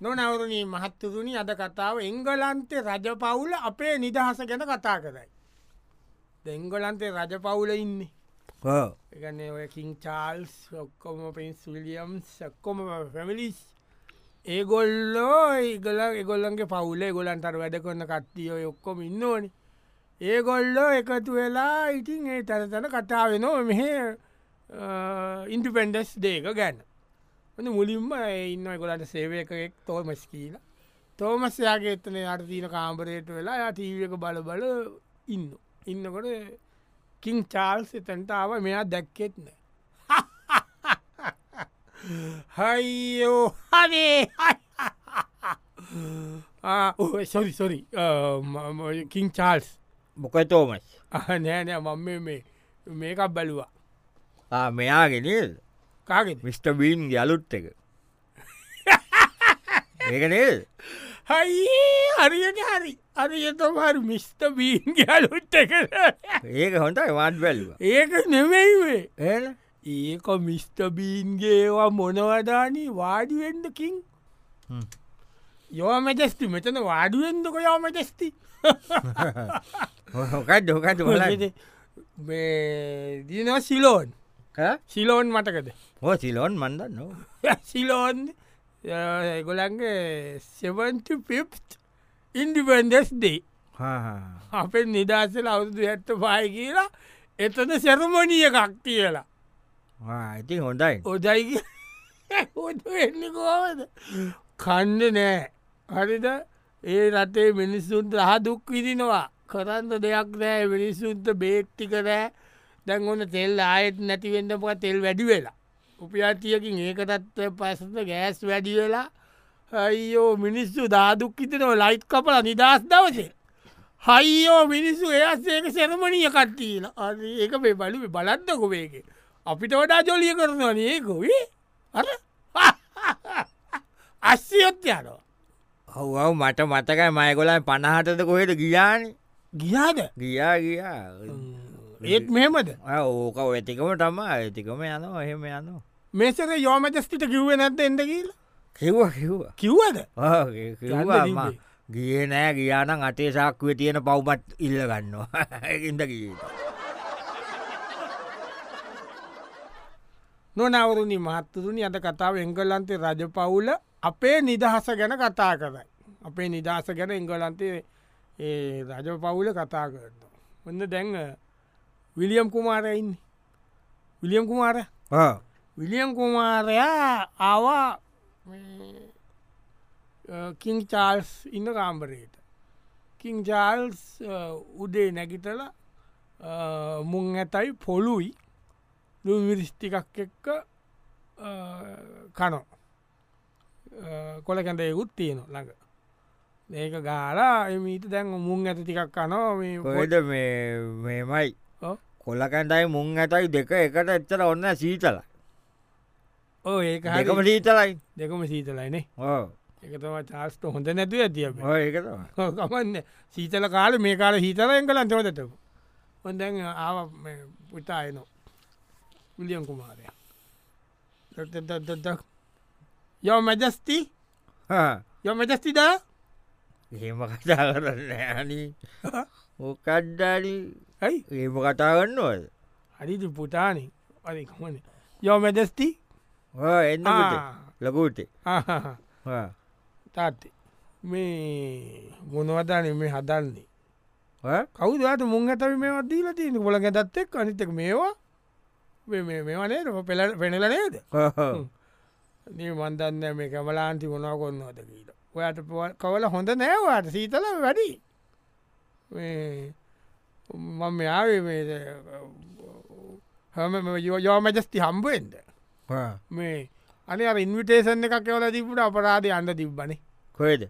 නොනවරණී මහත්තතුනි අද කතාව එංගලන්තේ රජ පවුල අපේ නිදහස ගැන කතා කරයි. දෙංගලන්තේ රජ පවුල ඉන්නේ. එකන ඔයකින් චාල්ස් ඔක්කොම පින්ස් විලියම් සක්කොම පැමිලිස් ඒගොල්ලෝ ඒගල එගොල්ලන්ගේ පවුලේ ගොලන්ටර වැඩ කොන්න කට්ටියෝ ඔක්කොම ඉන්න ඕනි ඒගොල්ලෝ එකතු වෙලා ඉතින් ඒ තැනතන කතාාවෙනෝ මෙහ ඉන්ටිපෙන්ඩස් දේක ගැන්න ඔන්න මුලින්ම ඒ ඉන්න ගොලට සේවයකෙක් තෝමස් කියීලා තෝමස්යාගේ එත්තන අර්තිීන කාම්පරයට වෙලා යා ටීවක බල බල ඉන්න ඉන්නකොට කින් චාල්ස් එතැන්ටාව මෙයා දැක්කෙත් නෑ හයිෝ හනේ සොරි සොරි කින් චාල්ස් මොකතෝමස් නෑනෑ මම මේ මේකක් බැලුවා මෙයාගෙනල් කාගෙද මිස්ට බීම් යලුත් එක ඒකනල් හයි හරියට හරි අරියතම හරි මිස්ත බීන් ගැලුට් එක ඒක හොඳ වාඩ් බැල්ුව ඒක නෙමෙයිවේ ඒ ඒක මිස්ට බීන්ගේවා මොනවදානී වාඩිුවෙන්ඩකින් යෝමජස්ති මෙතන වාඩුවෙන්දක යෝමජස්ති හොකත් හොකත් හොලද දින සිලෝන් සිලෝන් මටකද හෝ සිලොන් මන්දන්න සිලෝන් එගොලන්ගේ සෙවන්ට පිප් ඉන්ඩිපන්ඩස්දේ අපේ නිදස්සල අවුදු ඇත්ත පාය කියලා එතන සැරමනිය එකක් කියලා ඉති හොඳයි හොදයි එන්නේ කෝමද කන්න නෑ හරිද ඒ රටේ මිනිස්සුන්ට රහ දුක් විදිනවා කරන්න දෙයක් නෑ මිනිස්සුන්ට බේට්ටි කරෑ දැන් ඔන්න තෙල් ආයෙත් නැතිවෙන්නපුක තෙල් වැඩි වෙලා උපියාතියකින් ඒකටත් පසට ගෑස් වැඩි වෙලා හයිෝ මිනිස්සු දාදුක්කිතනව ලයිට් කපල නිදස් දවසේ හයිෝ මිනිස්සු එයස්සේක සැරමණිය කට්ටීල ඒක මේ බලු බලද්දකො මේක අපිට වඩා ජොලිය කරනවා නයකොවේ අර අස්සයොත් යනවා හව් මට මතකයි මයගොලයි පණහටද කොහෙට ගියාන ගියාද ගියා ගියා ඒත් මෙහෙමද ආ, ඕක ඇතිකම තම ඇතිකම යන එහෙම යන මේසක යෝමජස්තිට කිව්ව නැත්ත එට කියීල කිව්වා කිව්වා කිව්වද ආ, කිව්- කිව්වා යන්න මා. දීපේ. ගිය නෑ ගියානම් අතේ සාක්කුව තියෙන පව්බත් ඉල්ල ගන්නවා ඉද ගියට නොනවරුණි මහත්තතුනි අද කතාව එංගලන්තේ රජ පවුල අපේ නිදහස ගැන කතා කරයි. අපේ නිදහස ගැන එංගලන්තේ ඒ රජ පවුල කතා කරන්න. ඔන්න දැන් අ, විලියම් කුමාරයින්න. විලියම් කුමාර විලියම් කුමාරයා ආවා මේ, අ, කිං චාල්ස් ඉන්න කාම්බරයට. කිං චාල්ස් අ, උදේ නැගිටල අ, eh, මුං ඇතයි පොළුයි විරිස්්ටිකක් එක්ක eh, අ, කනෝ කොල කැඳයකුත් තියෙන ළඟ ඒක ගාලා එමීට දැන් මුන් ඇත ටිකක් කනෝ මේ කොහෙද මේ මෙමයි ඔව්. කොල්ලකැන්ටයි මුං ඇතයි දෙක එකට එච්චර ඔන්න සීතල ඔය ඒක එකම හරි. සීතලයි දෙකම සීතලයිනේ ඕ එක තම චාස්ට හොඳ නැතුව ඇතිබ ඕ ඒක තමයි. ගමන්න සීතල කාල මේ කාල හිතලයෙන් කල අන්තවතට හොඳැන් ආව පුතායන විලියම් කුමාරය යෝ මැජස්ති හා. යෝ මැජස්තිදා එහෙම කතා කරන්න ඇනී ඕකඩ්ඩාලි ඇයි ඒම කතා කන්නවද හරිද පුටාන අරි කොමන යෝ මැජස්ති එන්න ලකුටේ තාත්තේ මේ ගුණවදාන මේ හදන්නේ කවුදට මුං ඇතව මේවත් දීල තියෙන ගොල ගැතත්තෙක් අනිතක මේවා මේ- මේ- මේවනේද පෙළ පෙනල නේද නී මන්දන්න මේ කමලාන්ති මොනා කොන්නවද කියීට ඔයාට පො- කවල හොඳ නෑවාට සීතල වැඩි මේ මම ආවේ මේ හම යෝමජස්ති හම්බුවෙන්ද මේ අනි අර ඉන්විටේෂන් එකක් කවල තිබුට අපරාධය අන්න තිබ්බනේ කොයිද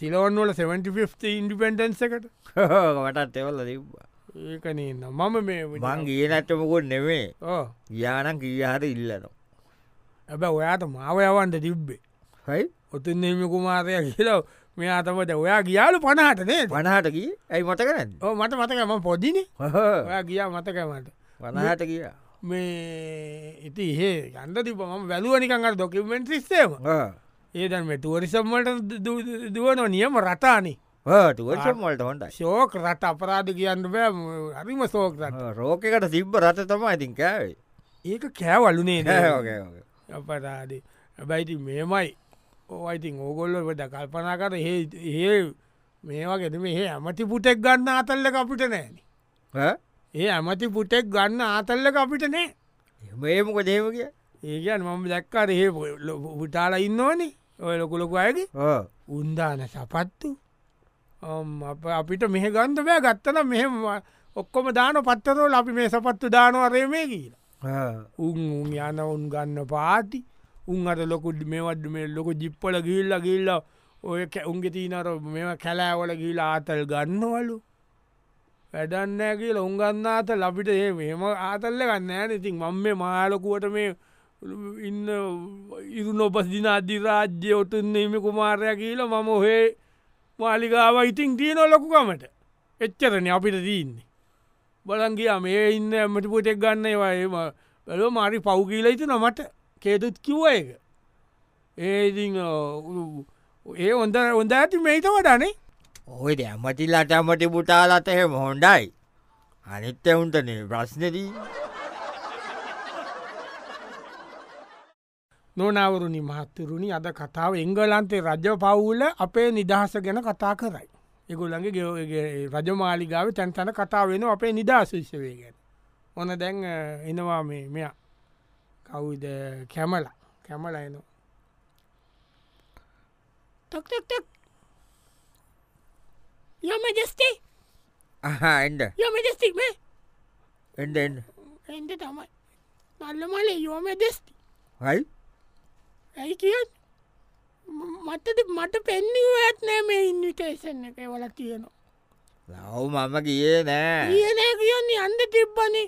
සිලෝන්වල 75 ඉන්ඩිපෙන්ඩන්ස එකට මටත් එවල්ල තිබ්බා ඒකනන්න මම මේ මං ගිය නැට්ටමකුත් නෙමේ ඕ යානම් කියහට ඉල්ලනවා ඇබ ඔයාට මාව යවන්ට තිබ්බේ හයි ඔතුන්නේම කුමාරය කියලා මෙයා තමට ඔයා ගියාලු පනහට නේද වනහට කිය ඇයි මතක නැද ඕ මට මතකම පොදින ඔයා ගියා මතකමට වනහට කියා මේ ඉති ඒ ගන්ද තිබ ම වැලුවනිකන් අර ඩොකිමෙන්ට ස්සේම ඒදන් ටුවරිසම්මට දුවන නියම රතානේ තුවල්සම්වලට හොඳයි ශෝක රට අපරාධ කියන්න බෑ ම- හරිම සෝක රට රෝකකට තිබ්බ රත තම ඉතින් කෑවේ ඒක කෑවලුනේ නෑ නෑ, ඕකේ, ඕකේ. අපරාද බැයිති මේමයි ඕයිතින් ඕගොල්ලොට කල්පනා කර ඒ මේවාගෙද මේ ඇමති පුටෙක් ගන්න අතල්ල අපිට නෑන ඈ? ඒ ඇමති පුටෙක් ගන්න ආතල්ල අපිට නෑ මේමක දේමක ඒකන් මම දැක්කාර ඒ පුටාල ඉන්නෝනේ ඔය ලොකුලොකු අයගේ උන්දාන සපත්තු අම් අප- අපිට මෙහ ගන්ධ බෑ ගත්තන මෙහෙම ඔක්කොම දාන පත්තරෝල අපි මේ සපත්තු දානවරය මේ කියලා උන් උන් යන උන් ගන්න පාති උන් අට ලොකු මේවඩ මේ ලොක ජිප්පල ගිල්ල ගිල්ල ඔය කැ- උන්ගේ තිීනර මෙ කැලෑවල ගිලා ආතල් ගන්නවලු වැඩන්නෑ කියලා උන්ගන්න අත ලබිට ඒ මෙම ආතල්ල ගන්න ෑන ඉතින් මං මේ මාලකුවට මේ ඉන්න ඉරු නොපස් දින අධිරාජ්‍ය ඔතුන්නේම කුමාරය කියල මම ඔහේ මාලිගාව ඉතින් තියන ලොකුකමට එච්චරන අපිට දීන්නේ බලන්ගේ මේ ඉන්න ඇමටි පොටෙක් ගන්න ඒවාම බැලෝ මාරි පෞගීලයිතු නොමට කේතුත් කිව්ව එක ඒදි ඒ ඔොඳ ඔොඳ ඇති මේත වඩනේ ඔය දැමතිලාට ඇමටි පුටාලත එහෙම හොන්ඩයි අනිත්‍ය උන්ටනේ ප්‍රශ්නදී නොනවරුණි මහත්තුරුණි අද කතාව එංගලන්තේ රජ පවුල අපේ නිදහස ගැන කතා කරයි. එකුළඟගේ ගෙවගේ රජමාලිගාව තැන්තන කතා වෙන අපේ නිදහශිෂ්‍යවේ ගැන. ඕන දැන් අ, එනවා මේ මෙ කවුද කැමල කැමල එනවා. තොක්තොක්තොක් යොමජස්ටේ එඩ යොමජස්ටික් මේ එඩෙන් එන්ට තමයි නල්ලමලේ යෝමදෙස්ටි හයි ඇයි කිය මටද මට පෙන්නිුවත් නෑ මේ ඉන්විටේෂන් එක වල තියෙනවා ලව් මම කියේ නෑ කියනෑ කියන්නේ අන්ද තිබ්බන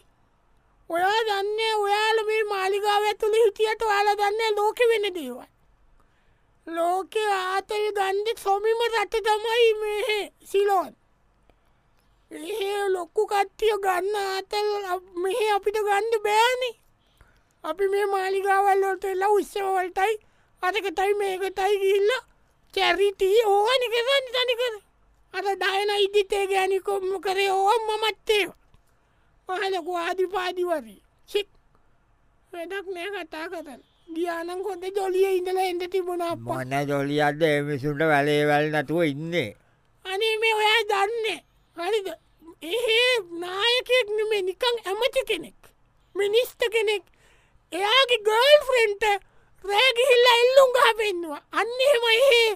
ඔයා දන්නේ ඔයාල මේ මාලිකාව ඇතුළි හිටියට යාල දන්න ලෝක වෙන දේවල් ලෝකෙ ආතල් ගන්ධ සොමිම රට තමයි මේ සිලෝන් ඒ ලොක්කු කට්ටිය ගන්න ආතල් අප- මෙහෙ අපිට ගන්ධ බෑනි අපි මේ මාලිගාවල්ලොට එල්ලා උත්සවවලටයි අතකතයි මේකතයි ගිල්ල චැරිටී ඕනකසන්න තනිකර අර දායන ඉදිතේ ගෑනිකොම්ම කරේ ඕම් මමත්තේ පහලකු ආධිපාදිවරී චික් වැඩක් මේ කතා කරන ගියානන් කොද ජොලිය ඉඳල එඳ තිබුණ අප මොන ජොලියද එමිසුන්ට වැලේවැල් නැතුව ඉන්නේ අනේ මේ ඔයා දන්නේ හරිද ඒ නායකෙක් නෙමේ නිකං ඇමති කෙනෙක් මිනිස්ත කෙනෙක් එයාගේ ගර්ල් ෆ්‍රෙන්ට රෑගිහිල්ල එල්ලුම් ගහ පෙන්වා අන්න එහෙම ඒ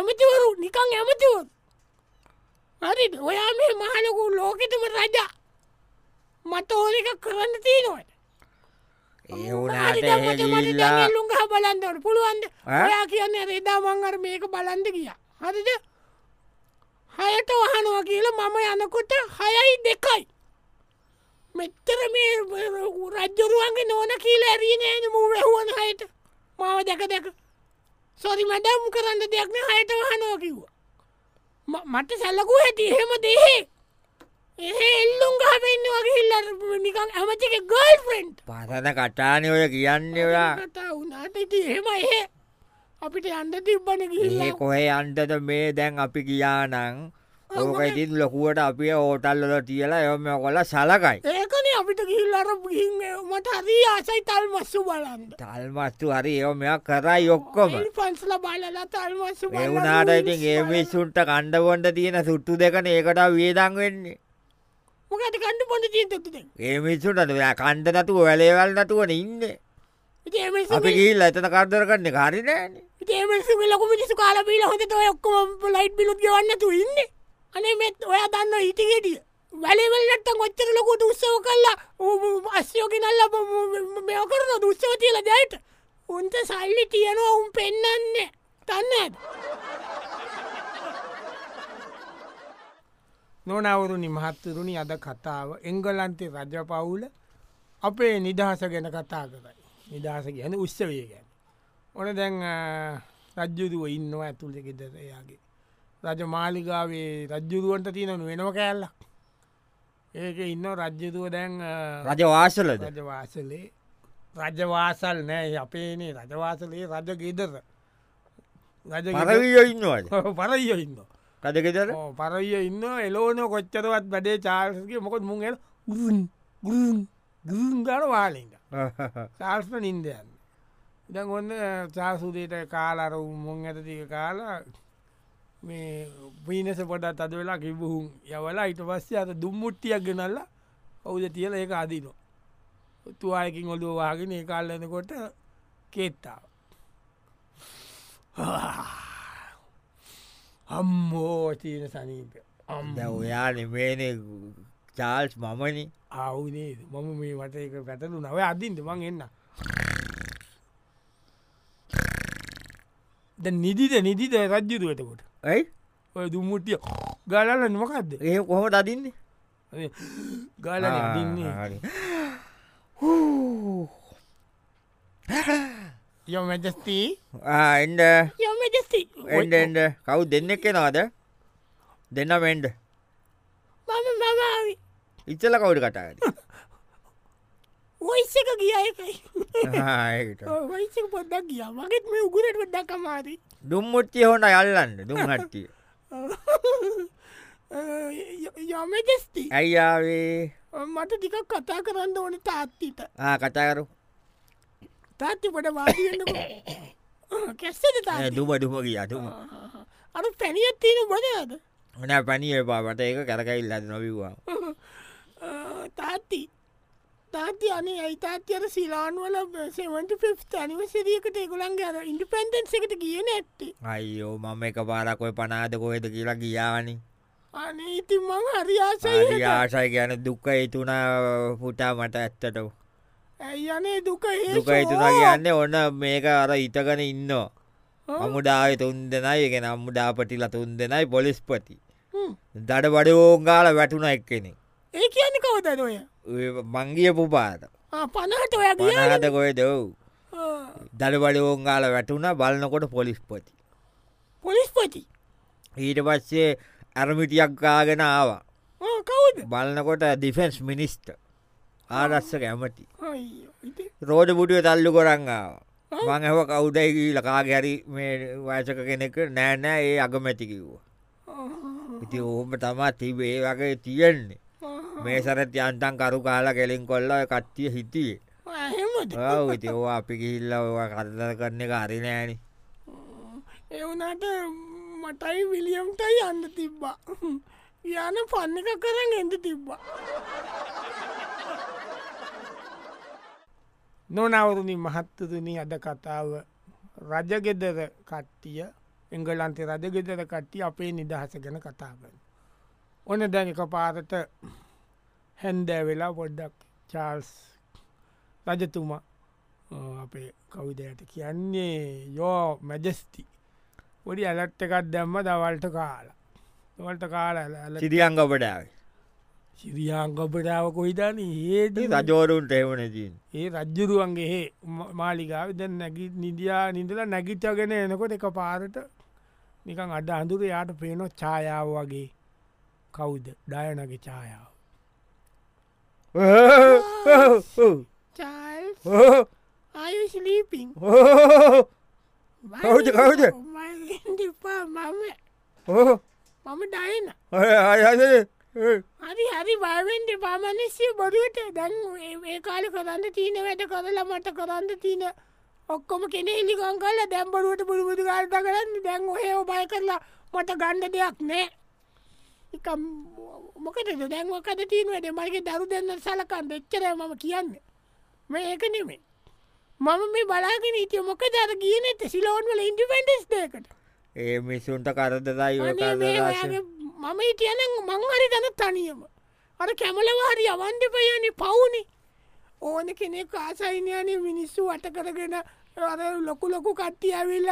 ඇමතිවරු නිකං ඇමතිවරු හරි ඔයා මේ මහලකු ලෝකෙතම රජා මට ඕනක කරන්න තියනවට ඒ වුනාට එහෙගිල්ලා ලුගහ බලන්දවට පුළුවන්ද ඈ? ඔයා කියන්න රෙදා මංගර මේක බලන්ද ගිය හරිද හයට වහනවා කියලා මම යනකොට හයයි දෙකයි මෙත්තර මේ රජ්ජරුවන්ගේ නෝන කියල ඇරීනේන මූ වැැහුවන හයට මාව දැක දැක සොරි මඩම් කරන්න දෙයක්න හයට වහනෝ කිව්වා ම- මට සැලකු හැටි එහෙම දෙහේ එහෙ එල්ලුම් ගහවෙන්න වගේ ඉල්ල නිකන් ඇමතික ගල් ෆෙන්ට් පසන කටානය ඔය කියන්නේ ඔයා කතා වුණට ඉති එහෙම එහ අපිට අන්ඩ තිබ්බන ඒ ගිල්ල කොහේ අන්ටද මේ දැන් අපි කියානං ඕක ඉතින් ලොකුවට අපිය ඕටල්ලොල තියලා එම කොල සලකයි ඒකන අපිට ගිල්ල අර මට හරී ආසයි තල් මස්සු බලන්ද තල්මස්තු හරි ඒ මෙයක් කරයි ඔක්කොම පන්සල බලලා තල් මස්සු එවුනාට ඉතින් ඒමිසුන්ට කණ්ඩවොන්ට තියෙන සුට්ටු දෙකන ඒකට වියදං වෙන්නේ මොකට කණ්ඩ පොඳ චීතතුද ඒමිසුන්ට ඔයා කණ්ඩ නතුව වැලේවල් නතුවන ඉන්න අපි ගිල් ඇතන කරදර කරන්නේ හරිනෑන ඒමසු ලොකු මිනිසු කාලබීල හොඳ ඔය ඔක්කොම ලයිට් බිලුත් ගවන්නතු ඉන්න අනේ මෙත් ඔයා දන්න ඉටිගෙටිය වැලවල්ලට ගොච්චර ලොකු දුස්සව කල්ලා අස්යෝගෙනල්ල මෙකරන දුස්සව තියල දයට උන්ට සල්ලි තියනවා උන් පෙන්නන්න තන්න නොනවරුණි මහත්තුරුණි අද කතාව එංගලන්තේ රජ පවුල අපේ නිදහස ගැන කතා කරයි නිදහස ගැන උත්සවය ගැන ඕන දැන් රජ්ජුරුව ඉන්නවා ඇතුළ ගෙදරයාගේ රජ මාලිගාවේ රජ්ජුරුවන්ට තියෙන වෙනව කෑල්ලක් ඒක ඉන්න රජ්ජුරුව දැන් රජවාසලද රජවාසලේ රජවාසල් නෑ ඒ අපේනේ රජවාසලේ රජ ගෙදර රජ පරවිය ඉන්නවද පරයිය ඉන්න කදගෙදර පරයිය ඉන්න එලෝන කොච්චරවත් වැඩේ චාර්සක මොකොත් මුන් එල ගරුන් ගරුන් ගරුන් ගර වාලෙන්ට චාර්ස්න නින්දයන්න ඉඩ ඔන්න චාසුදයට කාලාර උමොන් ඇත තික කාලා මේ පීනස පොඩත් අද වෙලා කිබුහුන් යවලා ඉට පස්සේ අත දුම්මුට්ටියක් ගෙනල්ලා ඔවුද තියල ඒක අදිනෝ තුවායකින් ඔොඩුවවාගෙන ඒ කාල්ලනකොට කෙත්තාව අම්මෝ චීන සනීපය අම් දැන් ඔයා නෙමේනේ චාල්ස් මමනි අවුනේ මම මේ වට එක පැටලු නව අදින්ට මං එන්න ද නිදිද නිදිද රජ්ජුරුවටකොට ඇයි ඔය දුම්මුටිය ගලල නොකක්ද ඒ කොහොම දදින්නේ ගල දින්නේ යො මැජස්තී එන්ඩ යො මැජස්ති එන්ඩ එන්ඩ කව් දෙන්න කෙනවාද දෙන්න වෙන්ඩ මම මමාවි ඉච්චල කවුට කටාද ඔයිස්ස එක ගිය එකයි ඒකට වයිස පොඩ්ඩක් ගිය මගෙත් මේ උගුරට පොඩ්ඩක් අමාරී දුම්මුට්ටිය හොඳ යල්ලන්න දුම් හට්ටිය යොමජස්ති ඇයියාවේ මට ටිකක් කතා කරන්න ඕන තාත්තිට ආ, කතාකරු තාත්ති පොඩ වාතියන්න කැස්සද ඒ තාත්ති දුම දුම කිය අතුම අර පැනියත් තියෙන බොදයද ඕන පනිය පාපට ඒක කරකයිල්ලද නොවිවා තාත්ති තාත්ති අනේ අයිතාත්ති අර සිලාන්වල සෙවට පිස් අනිවසිරියකට ඒකුළන් අර ඉන්ඩි පෙන්ඩන්ස එකට කියන ඇත්ති අයියෝ මම එක පාරක්කොය පනාද කොහෙද කියලා ගියානි අනේ ඉතින් මං හරියාසයි ආශය කියන දුක්ක ඒතුනා පුටා මට ඇත්තට ඇයි අනේ දුක දුක ඒතුනා කියන්න ඔන්න මේක අර ඉතගන ඉන්න අමුඩාව තුන් දෙනයි එක අම්මුඩාපටිල තුන් දෙනයි පොලිස්පති දඩ බඩ ඕෝංගාල වැටුණ එක්කෙනෙ ඒ කියන්න කවදද ඔය මංගිය පුපාත ආ, පනහට ඔය ගිය පනාද කොය දව් දඩ බඩ ඕෝංගාල වැටුණ බලන්නකොට පොලිස්පති පොලිස්පති ඊට පස්සේ ඇරමිටියක් ගාගෙන ආවා කවුද බලන්නකොට ඩිෆෙන්ස් මිනිස්ට ආරස්ස කැමති අයියෝ, ඉතින් රෝඩ පුටුව තල්ලු කරන්න ආවා මංහව කවුඩයි ලකා ගැරි මේ වයසක කෙනෙක නෑනෑ ඒ අගමැති කිව්වා ඉති ඕම තමා තිබේ වගේ තියෙන්නේ මේ සරත් යන්තන් කරු කාලා කෙලින් කොල්ල ඔය කට්ටිය හිටියේ එහෙමද ඔව් ඉතින් ඕවා අපි කිහිල්ල ඔවා කරදර කරන එක හරි නෑනේ එවනාට මටයි විලියම්ටයි යන්න තිබ්බා යන පන්න එක කරන්න එඳ තිබ්බා නොනවරුණි මහත්තතුනි අද කතාව රජගෙදර කට්ටිය එංගලන්තේ රජගෙදර කට්ටිය අපේ නිදහස ගැන කතාගන්න ඕන දැනික පාරට හැන්දෑ වෙලා පොඩ්ඩක් චාල්ස් රජතුමා අ, අපේ කවිදයට කියන්නේ යෝ මැජස්ති පොඩි ඇලට් එකත් දැම්ම දවල්ට කාලා දවල්ට කාලා ඇල සිරියංග පඩාවේ සිරියංගපටාව කොහිතන ඒද රජෝරුන්ට එවනදීන් ඒ රජ්ජුරුවන්ගේ හේ මාලිගාව දැ නැගි නිදියා නිදලා නැගිච්චගෙන එනකොට එක පාරට නිකන් අඩ අඳුර යාට පේනො චායාව වගේ කවුද ඩයනගේ චායාව චල් ආයුස්ලීපින් Kau je, kau je. ඩිපා මම මම ඩයන හරි හරි භාවෙන්ට පාමනස්ය බොරුවට දැන් ඒ- ඒ කාල කරන්න තියන වැට කරලා මට කරන්න තියන ඔක්කොම කෙනෙ එලිකං කල දැම්බරුවට පුළබුදු ගල්ත කරන්න දැන් ඔහේ බය කරලා මට ගණ්ඩ දෙයක් නෑ එකම් මොකට දැන්වකද තියනවැට මගේ දරු දෙන්න සලකන් දෙච්චර මම කියන්න මේ ඒක නෙමේ මම මේ බලාගෙන ඉතිය මොක දර ගීනත සිලෝන්වල ඉන්ඩිපෙන්ඩස් දේකට ඒ මිසුන්ට කරදදයි ඔය අනේ මේ කරදලාශ ඔයාගේ මම හිටියන මං හරි ගැන තනියම අර කැමලවාහරි අවන්ඩපයනි පවුනි ඕන කෙනෙ කාසයිනයන මිනිස්සු වට කරගෙන අර ලොකු ලොකු කට්ටිය ඇවිල්ල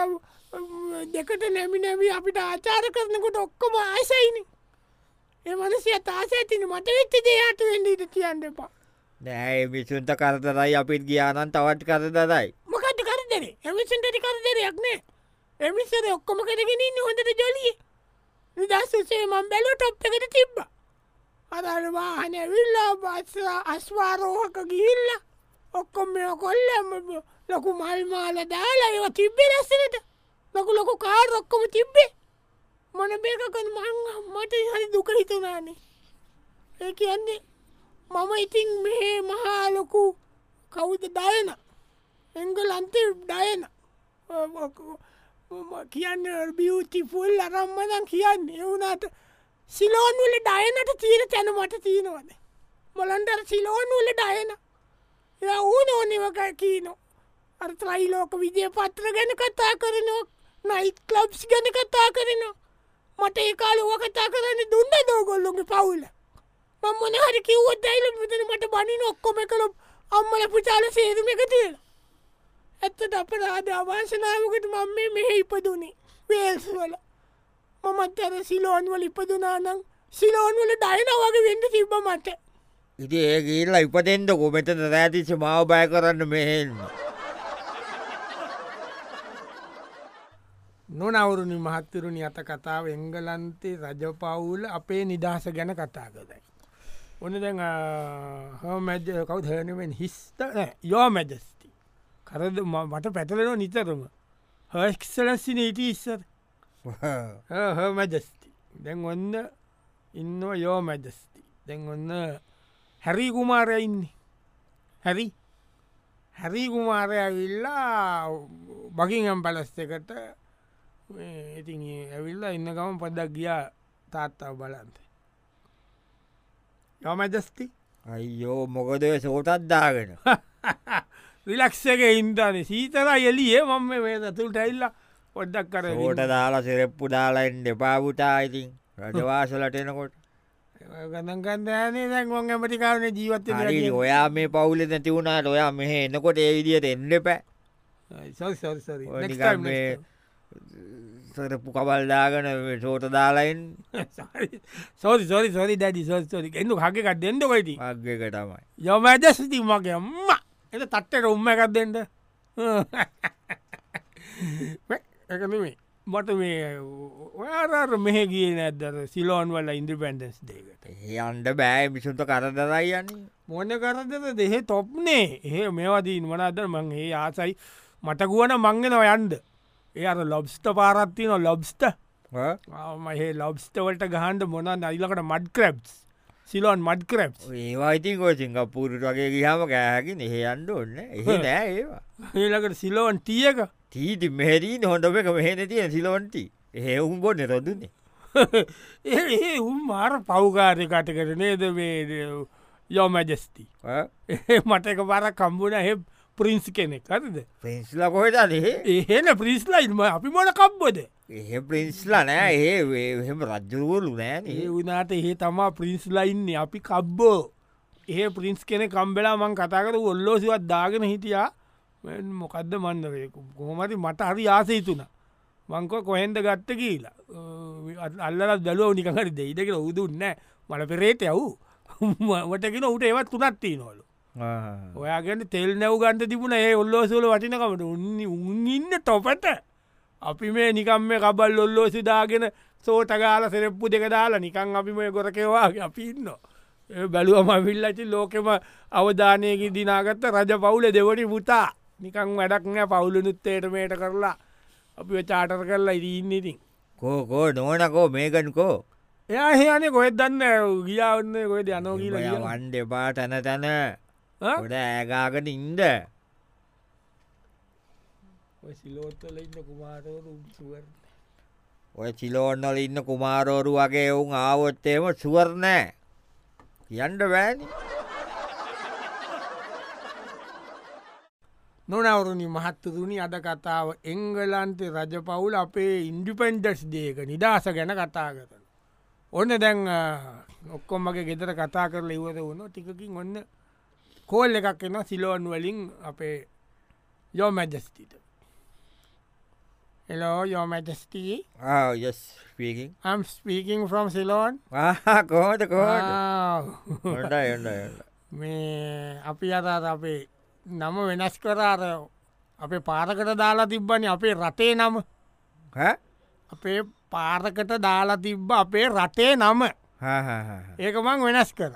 දෙකට නැමි නැවී අපිට ආචාර කරනකොට ඔක්කොම ආසයිනි එමනසිය තාස ඇතින මට වෙච්ච දේයාට වෙන්ඩීට කියන්න එපා නෑ මිසුන්ට කරතරයි අපිත් ගියානන් තවත් කරදදයි මොකට කරදරේ එමිසන්ටට කරදරයක් නෑ එමිසර ඔක්කොම කරගෙනන්න හොඳට ජොලිය නිදස්සුසේ මං බැලෝ ටොප් එකට තිබ්බ අදරවාහන විල්ලා බස්සලා අස්වාරෝහක ගිහිල්ල ඔක්කොම මෙ කොල්ලම ලොකු මල්මාල දාලා ඒව තිබ්බෙ ලස්සනට ලොකු ලොකු කාර් ඔක්කොම තිබ්බේ මොන බේකකන් මං මට හරි දුක හිතනානේ ඒ කියන්නේ මම ඉතින් මෙහේ මහා ලොකු කවුද දයන එංගල අන්තේ ඩයන කියන්න බියතිෆුල් අරම්මදන් කියන්න එවුනාට සිලෝනුල ඩයනට තීර තැන මට තියෙනවද මොලන්ඩර සිලෝනුල ඩයන එය ඌනෝනිවක කියීනෝ අර්තරයි ලෝක විජය පත්‍ර ගැන කතා කරනවා නයිත් කලබ්ස් ගැන කතා කරනවා මට ඒකාල ඕ කතා කරන්න දුන්න දෝගොල්ලොගේ පවුල මං මොන හරි කිව්වත් ඇයිල පුතන මට බනින ඔක්කොම කළොම් අම්මල පුචාල සේරුම එක තියල ඇත්තට අප රාද අවාශනාවකට මං මේ මෙහෙ ඉපදුනේ වේල්ස් වල මමත් අර සිලෝන්වල ඉපදුනානම් සිලෝන්වල ඩයනවගේ වෙන්න තිබ්බ මට ඉති ඒ ගිල්ල ඉපතෙන්ට කොමෙතන රෑතිච්ච මාව බය කරන්න මෙහෙන්න නොනවුරුණි මහත්තරුණි අත කතාව එංගලන්තේ රජපවුල් අපේ නිදහස ගැන කතාගදයි. ඔන්න දැන් හමැජ කවු හනුවෙන් හිස්ත යෝ මැජස්ති කරද ම- මට පැටලෙන නිතරම හක්සලසි නීට ඉස්සර මැජස්ති දැන් ඔන්න ඉන්නවා යෝ මැජස්ති දැන් ඔන්න හැරි කුමාරයඉන්නේ හැරි හැරි කුමාරය ඇවිල්ලා බකිගම් පැලස්තකට ඉති ඇවිල්ලා ඉන්න ගම පදක් ගියා තාත්තාව බලන්ත යෝ මැජස්ති අයියෝ මොකද ඔය සෝටත් දාගෙන විලක්ෂක ඉන්දන සීතලා එලියේ මම මේ දතුල් ටැල්ල පොඩ්ඩක් කර ෝට දාලා සිරෙප්පු දාලාෙන් දෙපාපුතා ඉතින් රජවාසලටනකොට ගඳන්ගන්දයනේ දැන්වන් ඇමටිකාරන ජීවත්ත හරි ඔයා මේ පවුලෙ නැතිවුණට ඔයා මෙහ එනකොට ඒ විදියට එන්න පැ ඔය නිකන් මේ සරපු කබල්දාගන සෝට දාලයින් සෝරි සෝරි සොරි දැඩි සෝස්තෝරි එන්නු හකක් දෙන්නකොයිති අග්ගක තමයි යොමජ සිති මගේ අම්ම එත තට්ටට උම්ම එකක් දෙෙන්ට එකනමේ මට මේ ඔයාර මෙහ ගිය නැදර සිලෝන් වල ඉන්ඩිපෙන්ඩස් දේකට ඒ අන්ඩ බෑ මිසුන්ට කරදරයියන්නේ මොන කරදද දෙහෙ තොප්නේ ඒ මේවදීන් වනාදර මං ඒ ආසයි මටකුවන මංගෙන ඔයන්ද ඒ අර ලොබ්ස්ට පාරත්තින ලොබ්ස්ට මහෙ ලොබ්ස්ටවලට ගහන්ඩ මොන අයිලකට mud crabs Ceylon mud crabs ඒවා ඉතින් ඔය සිංගපූරට වගේ ගිහාම කෑහකි එහෙ අන්ඩ ඔන්න එහෙ නෑ ඒවා ඒලකට සිලෝන් ටියක තීටි මෙහරී හොඳම එක මෙහෙන තියෙන සිලොන්ටි එහෙවුම් බොන්න රොදුන්නේ ඒ ඒ උම් මාර පෞකාරය කටකට නේද මේ යෝමැජස්ති මට එක බර කම්බුණ හෙ ප්‍රින්ස් කෙනෙක් කරද පෙන්ස්ල කොහෙට දෙහෙ එහෙන ප්‍රිස්ලයිල්ම අපි මොන කම්බොද එහෙ පින්ස්ල නෑ ඒ එහෙම රජ්ජුවලු නෑන ඒ වනාට ඒ තමා ප්‍රින්ස්ලයින්නේ අපි කබ්බෝ ඒ ප්‍රින්ස් කෙන කම්බෙලා මං කතාකර ඔල්ලෝසිවත් දාගෙන හිටියා මෙන් මොකක්ද මන්දරය කොහොමති මට හරි ආසේතුන මංකව කොහෙන්ද ගත්ත කියලා අ, අල්ලලත් දලුව නිකහට දෙයිටකෙන උදුන්න මල පෙරේට යව් වටකෙන උට ඒවත් තුනත්තිී නොලු ඔයාගන්න තෙල් නැව් ගන්ට තිබුණ ඒ ඔල්ලෝසුල වටිනකමට උන්න උන්ඉන්න තොපට අපි මේ නිකම් මේ කබල් ඔල්ලෝ සිදාගෙන සෝටගාල සෙරෙප්පු දෙක දාලා නිකං අපි මේ ගොරකෙවා අපින්න බැලුවම විල්ලචි ලෝකෙම අවධානයකි දිනාගත්ත රජ පවුල දෙවනි පුතා නිකං වැඩක්නෑ පවුලනුත්තේට මේට කරලා අපි චාටර කරලා ඉදීන්න ඉතින් කෝකෝ නොනකෝ මේකන්කෝ එයා හයනේ කොහෙත් දන්න ගියාවන්න කොහෙද යනෝ කියලා වන්ඩ එපා තැන තැන ගොඩ ඇගාකට ඉන්ද සිලෝත්තල ඉන්න කුමාරවරු සුවර ඔය චිලෝන්නල ඉන්න කුමාරෝරු වගේ ඔවුන් ආවොත්තේම සුවරණෑ කියන්ඩ බෑන නොනවරුණි මහත්තතුනි අද කතාව එංගලන්තේ රජ පවුල් අපේ ඉන්ඩිපෙන්ඩස් දේක නිදහස ගැන කතා කරන. ඔන්න දැන් ඔක්කොම්මගේ ගෙදර කතා කරල ඉවර වුණ ටිකකින් ඔන්න කෝල් එකක් එන සිලෝන් වලින් අපේ යෝමැජස්තිට. Hello your majesty yes speaking I'm speaking from Ceylon කෝට කෝට ආ. ොඩ එන්න මේ අපි අතාත් අපේ නම වෙනස් කරාර අපේ පාරකට දාලා තිබ්බනි අපේ රටේ නම අපේ පාරකට දාලා තිබ්බ අපේ රටේ නම ඒක මං වෙනස් කර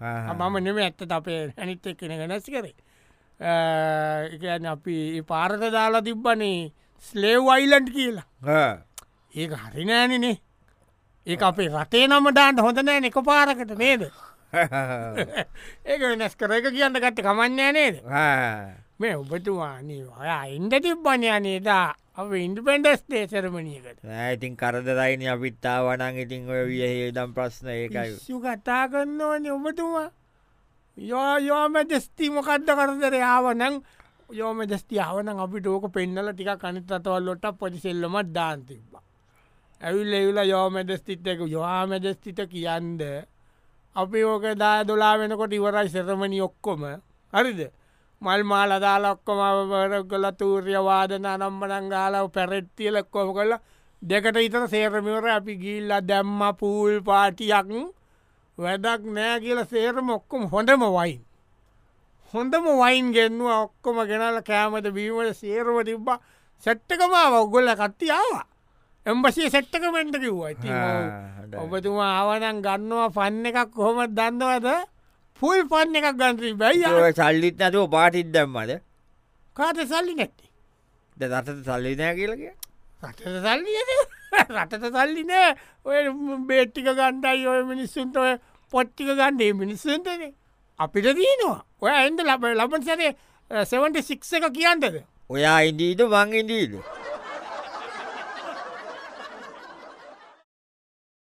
මම නෙම ඇත්තට අපේ ඇනිත් එක්කෙන වෙනස් කරේ අ, ඒ කියන්නේ අපි ඒ පාරට දාලා තිබ්බනේ ස්ලේව් අයිලන්ඩ් කියලා ඒ හරිනෑනනේ ඒ අපේ රටේ නම දාන්න හොඳ නෑ එක පාරකට නේද ඒක වෙනස් කර එක කියන්න ගත්ත කමන්නෑ නේද මේ ඔබතුවානී ඔයා ඉන්ඩ තිබ්බනයනේදා අප ඉන්ඩපෙන්ඩස් දේශරමණියකට ඉතින් කරදරයින අපිත්තා වනන් ඉතින් ඔය වියහේදම් ප්‍රශ්න ඒකයි ශු කතා කන්න ඕනේ ඔබතුමා යෝ යෝම ජස්ති මොකක්ද කරදර යාවනං යෝම ජස්තියාවන අපි ටෝක පෙන්නල ටික කනිත් අතවල්ලොට පොතිසෙල්ලමත් දාන් තිබ්බා ඇවිල් එවුල යෝමදස්තිත්තක යවාමදස්තිත කියන්ද අපි ඕක දා දොලා වෙනකොට ඉවරයි සෙරමණි ඔක්කොම හරිද මල් මාල දාලා ඔක්කොම අවර කළ තූර්ය වාදන අනම්මනං ගාලාව පැරෙට්තිය ලක්කොම කළ දෙකට ඉතර සේරමිවර අපි ගිල්ල දැම්ම පූල් පාටියක් වැඩක් නෑ කියල සේරම ඔක්කොම හොඳම වයින්. හොඳම වයින් ගෙන්වා ඔක්කොම ගෙනල කෑමට බීමට සේරම තිබ්බා සැට්ටකමාව ඔගොල්ල කත්තියාව එම්බසිය සැට්ටකමෙන්ට කිව්වයි ඔබතුමා ආවනන් ගන්නවා පන්න එකක් කොහොම දන්නවද පුල් පන්න එකක් ගන්ත්‍රී බැයි සල්ලිත් නැතුව පාටිත් දැම්මද කාට සල්ලි නැත්ති ද රටට සල්ලිනෑ කියලක රටට සල්ලි ඇති. රටට සල්ලි නෑ ඔය බේට්ටික ගණ්ඩයි ඔය මිනිස්සුන්ට ඔය පොට්ටික ගණ්ඩේ මිනිස්සුන්ටන අපිට දීනවා ඔය ඇන්ද ලබ ලබන් සැරේ සෙවන්ට සික්ස එක කියන්ටද ඔයා ඉදීද මං ඉදීද